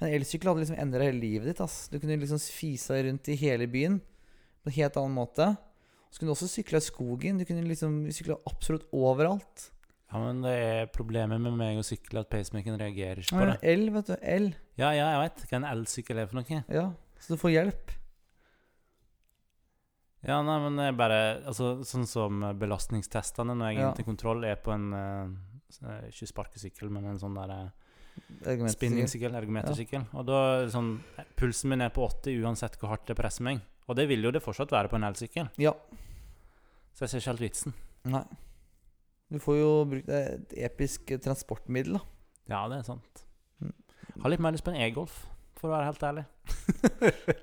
A: En elsykkel hadde liksom endra hele livet ditt. ass Du kunne liksom fisa rundt i hele byen på en helt annen måte. Så kunne du også sykla i skogen. Du kunne liksom sykla absolutt overalt.
B: Ja, men det er problemet med meg og sykle at pacemakeren reagerer ikke på
A: Ja,
B: det.
A: el, vet du. El.
B: Ja, ja, jeg veit hva en elsykkel er for noe.
A: Ja. Så du får hjelp.
B: Ja, nei, men det er bare altså, Sånn som belastningstestene når jeg er
A: Ja.
B: inn til kontroll, er på en eh, eh, Ikke sparkesykkel, men en sånn der eh,
A: Argumenter-
B: spinningsykkel, ergometersykkel. Og da er det sånn Pulsen min er på 80 uansett hvor hardt det presser meg. Og det vil jo det fortsatt være på en elsykkel.
A: Ja.
B: Så jeg ser ikke helt vitsen.
A: Nei. Du får jo brukt det er et episk eh, transportmiddel, da.
B: Ja, det er sant.
A: Mm.
B: Har litt mer lyst på en e-golf, for å være helt ærlig.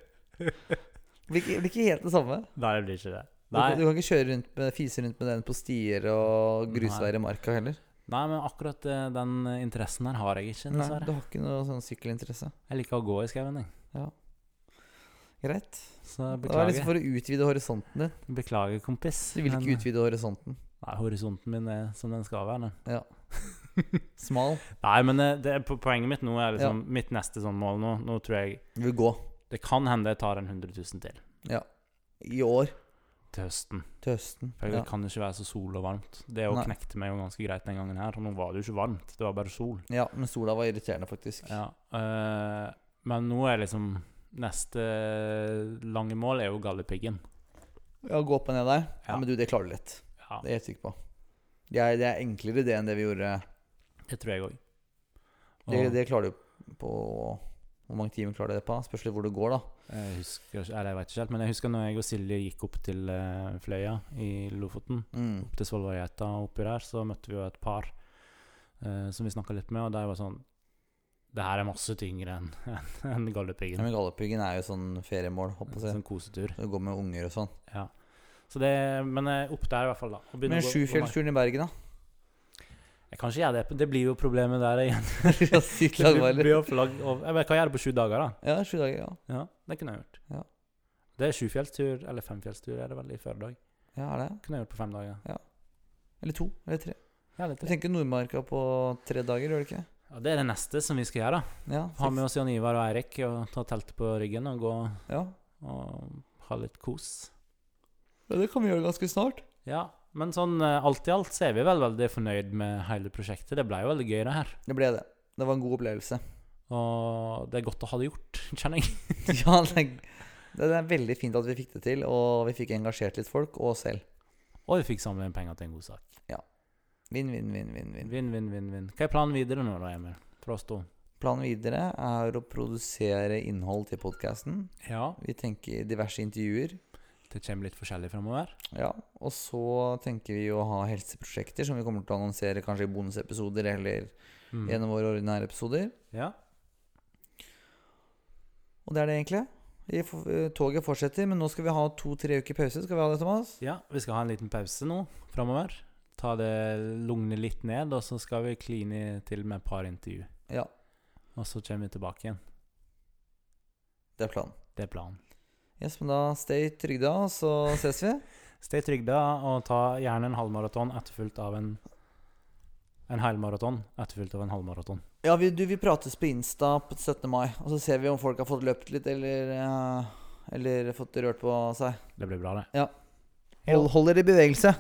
A: Det blir ikke, blir ikke helt det samme.
B: Nei, det blir ikke det.
A: Du,
B: Nei,
A: kan- du kan ikke kjøre rundt med, fise rundt med den på stier og grusveier i marka heller.
B: nei men akkurat eh, den interessen her har jeg ikke,
A: Nei,
B: dessverre.
A: du har ikke noe sånn sykkelinteresse.
B: Jeg liker å gå i skauen, jeg.
A: Greit.
B: Så
A: Det var liksom
B: beklager.
A: for å utvide horisonten din.
B: Beklager, kompis.
A: Du vil
B: men-
A: ikke utvide horisonten.
B: Nei, horisonten min er som den skal være. nå.
A: Smal.
B: Nei, men eh, det, er po- poenget mitt nå er
A: Ja.
B: liksom Mitt neste sånn mål nå Nå tror jeg
A: Du vil gå.
B: Det kan hende jeg tar en 100 000 til
A: I år.
B: til høsten.
A: Til høsten.
B: For det
A: Ja.
B: kan jo ikke være så sol og varmt. Det å
A: Nei.
B: knekte meg jo ganske greit den gangen her. Og nå var det jo ikke varmt, det var bare sol.
A: ja, men sola var irriterende, faktisk.
B: Ja, eh, men nå er liksom Neste lange mål er jo Galdhøpiggen.
A: Ja, gå opp og ned der. Ja,
B: Ja.
A: Men du, det klarer du lett.
B: Ja,
A: Det er jeg helt sikker på. Det er, det er enklere det enn det vi gjorde.
B: det tror jeg òg.
A: Det, det klarer du på Hvor mange timer klarer du det på? Spørs litt hvor det går, da.
B: Jeg husker, ikke- eller jeg vet ikke helt, men jeg husker når jeg og Silje gikk opp til eh, Fløya i Lofoten.
A: Mm.
B: Opp til Svolværgeita og oppi der, så møtte vi jo et par eh, som vi snakka litt med, og de var sånn Det her er masse tyngre enn enn
A: Ja,
B: Galdhøpiggen.
A: men Galdhøpiggen er jo sånn feriemål, håper jeg. å si.
B: Sånn kosetur.
A: Du går med unger og sånn.
B: Ja. Så det, men eh, opp der i hvert fall, da. og
A: Men
B: begynne å gå- gå meg.
A: Sjufjellsturen i Bergen, da?
B: Jeg kan ikke gjøre det. Det blir jo problemet der igjen.
A: Ja, sykt
B: Det blir,
A: langveilig.
B: blir jo flagg over. Jeg vet, kan gjøre det på sju dager, da.
A: Ja, sju dager, ja.
B: Ja, det kunne jeg gjort.
A: Ja.
B: Det er sjufjellstur, eller femfjellstur er det vel, i førdag.
A: Ja, er det?
B: Kunne jeg gjort på fem dager.
A: Eller to? Eller tre?
B: Ja, litt
A: Du tenker Nordmarka på tre dager, gjør du ikke?
B: ja, det er det neste som vi skal gjøre. da.
A: Ja.
B: Ha med
A: seks.
B: oss Jan Ivar og Eirik og ta teltet på ryggen og gå
A: ja.
B: og ha litt kos.
A: ja, det kan vi gjøre ganske snart.
B: Ja, men sånn eh, alt i alt så er vi vel veldig fornøyd med hele prosjektet. Det ble jo veldig gøy, det her.
A: Det ble det. Det var en god opplevelse.
B: Og det er godt å ha det gjort, kjenner jeg.
A: ja, det, det er veldig fint at vi fikk det til, og vi fikk engasjert litt folk, og oss selv.
B: Og vi fikk samle inn penger til en god sak.
A: Vinn, vinn, vinn, vinn. vinn.
B: Vinn, vinn, vinn. vinn. Hva er planen videre nå, da, Emil? For oss to?
A: Planen videre er å produsere innhold til podkasten.
B: Ja,
A: Vi tenker diverse intervjuer.
B: det kommer litt forskjellig framover.
A: Ja, og så tenker vi å ha helseprosjekter som vi kommer til å annonsere kanskje i bonusepisoder eller
B: Mm.
A: gjennom våre ordinære episoder.
B: Ja.
A: Og det er det egentlig. Vi får- eh, Toget fortsetter, men nå skal vi ha to-tre uker pause. Skal vi ha det, Thomas?
B: Ja, vi skal ha en liten pause nå framover. Ta det lugne litt ned, og så skal vi kline til med et par intervju.
A: Ja,
B: Og så kommer vi tilbake igjen.
A: det er planen.
B: Det er planen.
A: Yes, men da stay trygge, da, så ses vi.
B: Stay trygda, og ta gjerne en halvmaraton etterfulgt av en En helmaraton etterfulgt av en halvmaraton.
A: Ja, vi, du, vi prates på Insta på 17. mai, og så ser vi om folk har fått løpt litt eller, eh, eller fått rørt på seg.
B: Det blir bra, det.
A: Hold, hold dere i bevegelse.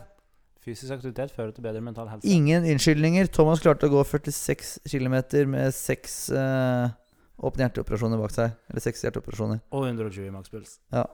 B: Fysisk aktivitet fører til bedre mental helse.
A: Ingen unnskyldninger. Thomas klarte å gå 46 km med seks eh, åpne hjerteoperasjoner bak seg. Eller seks hjerteoperasjoner.
B: Og 120 i makspuls.
A: Ja.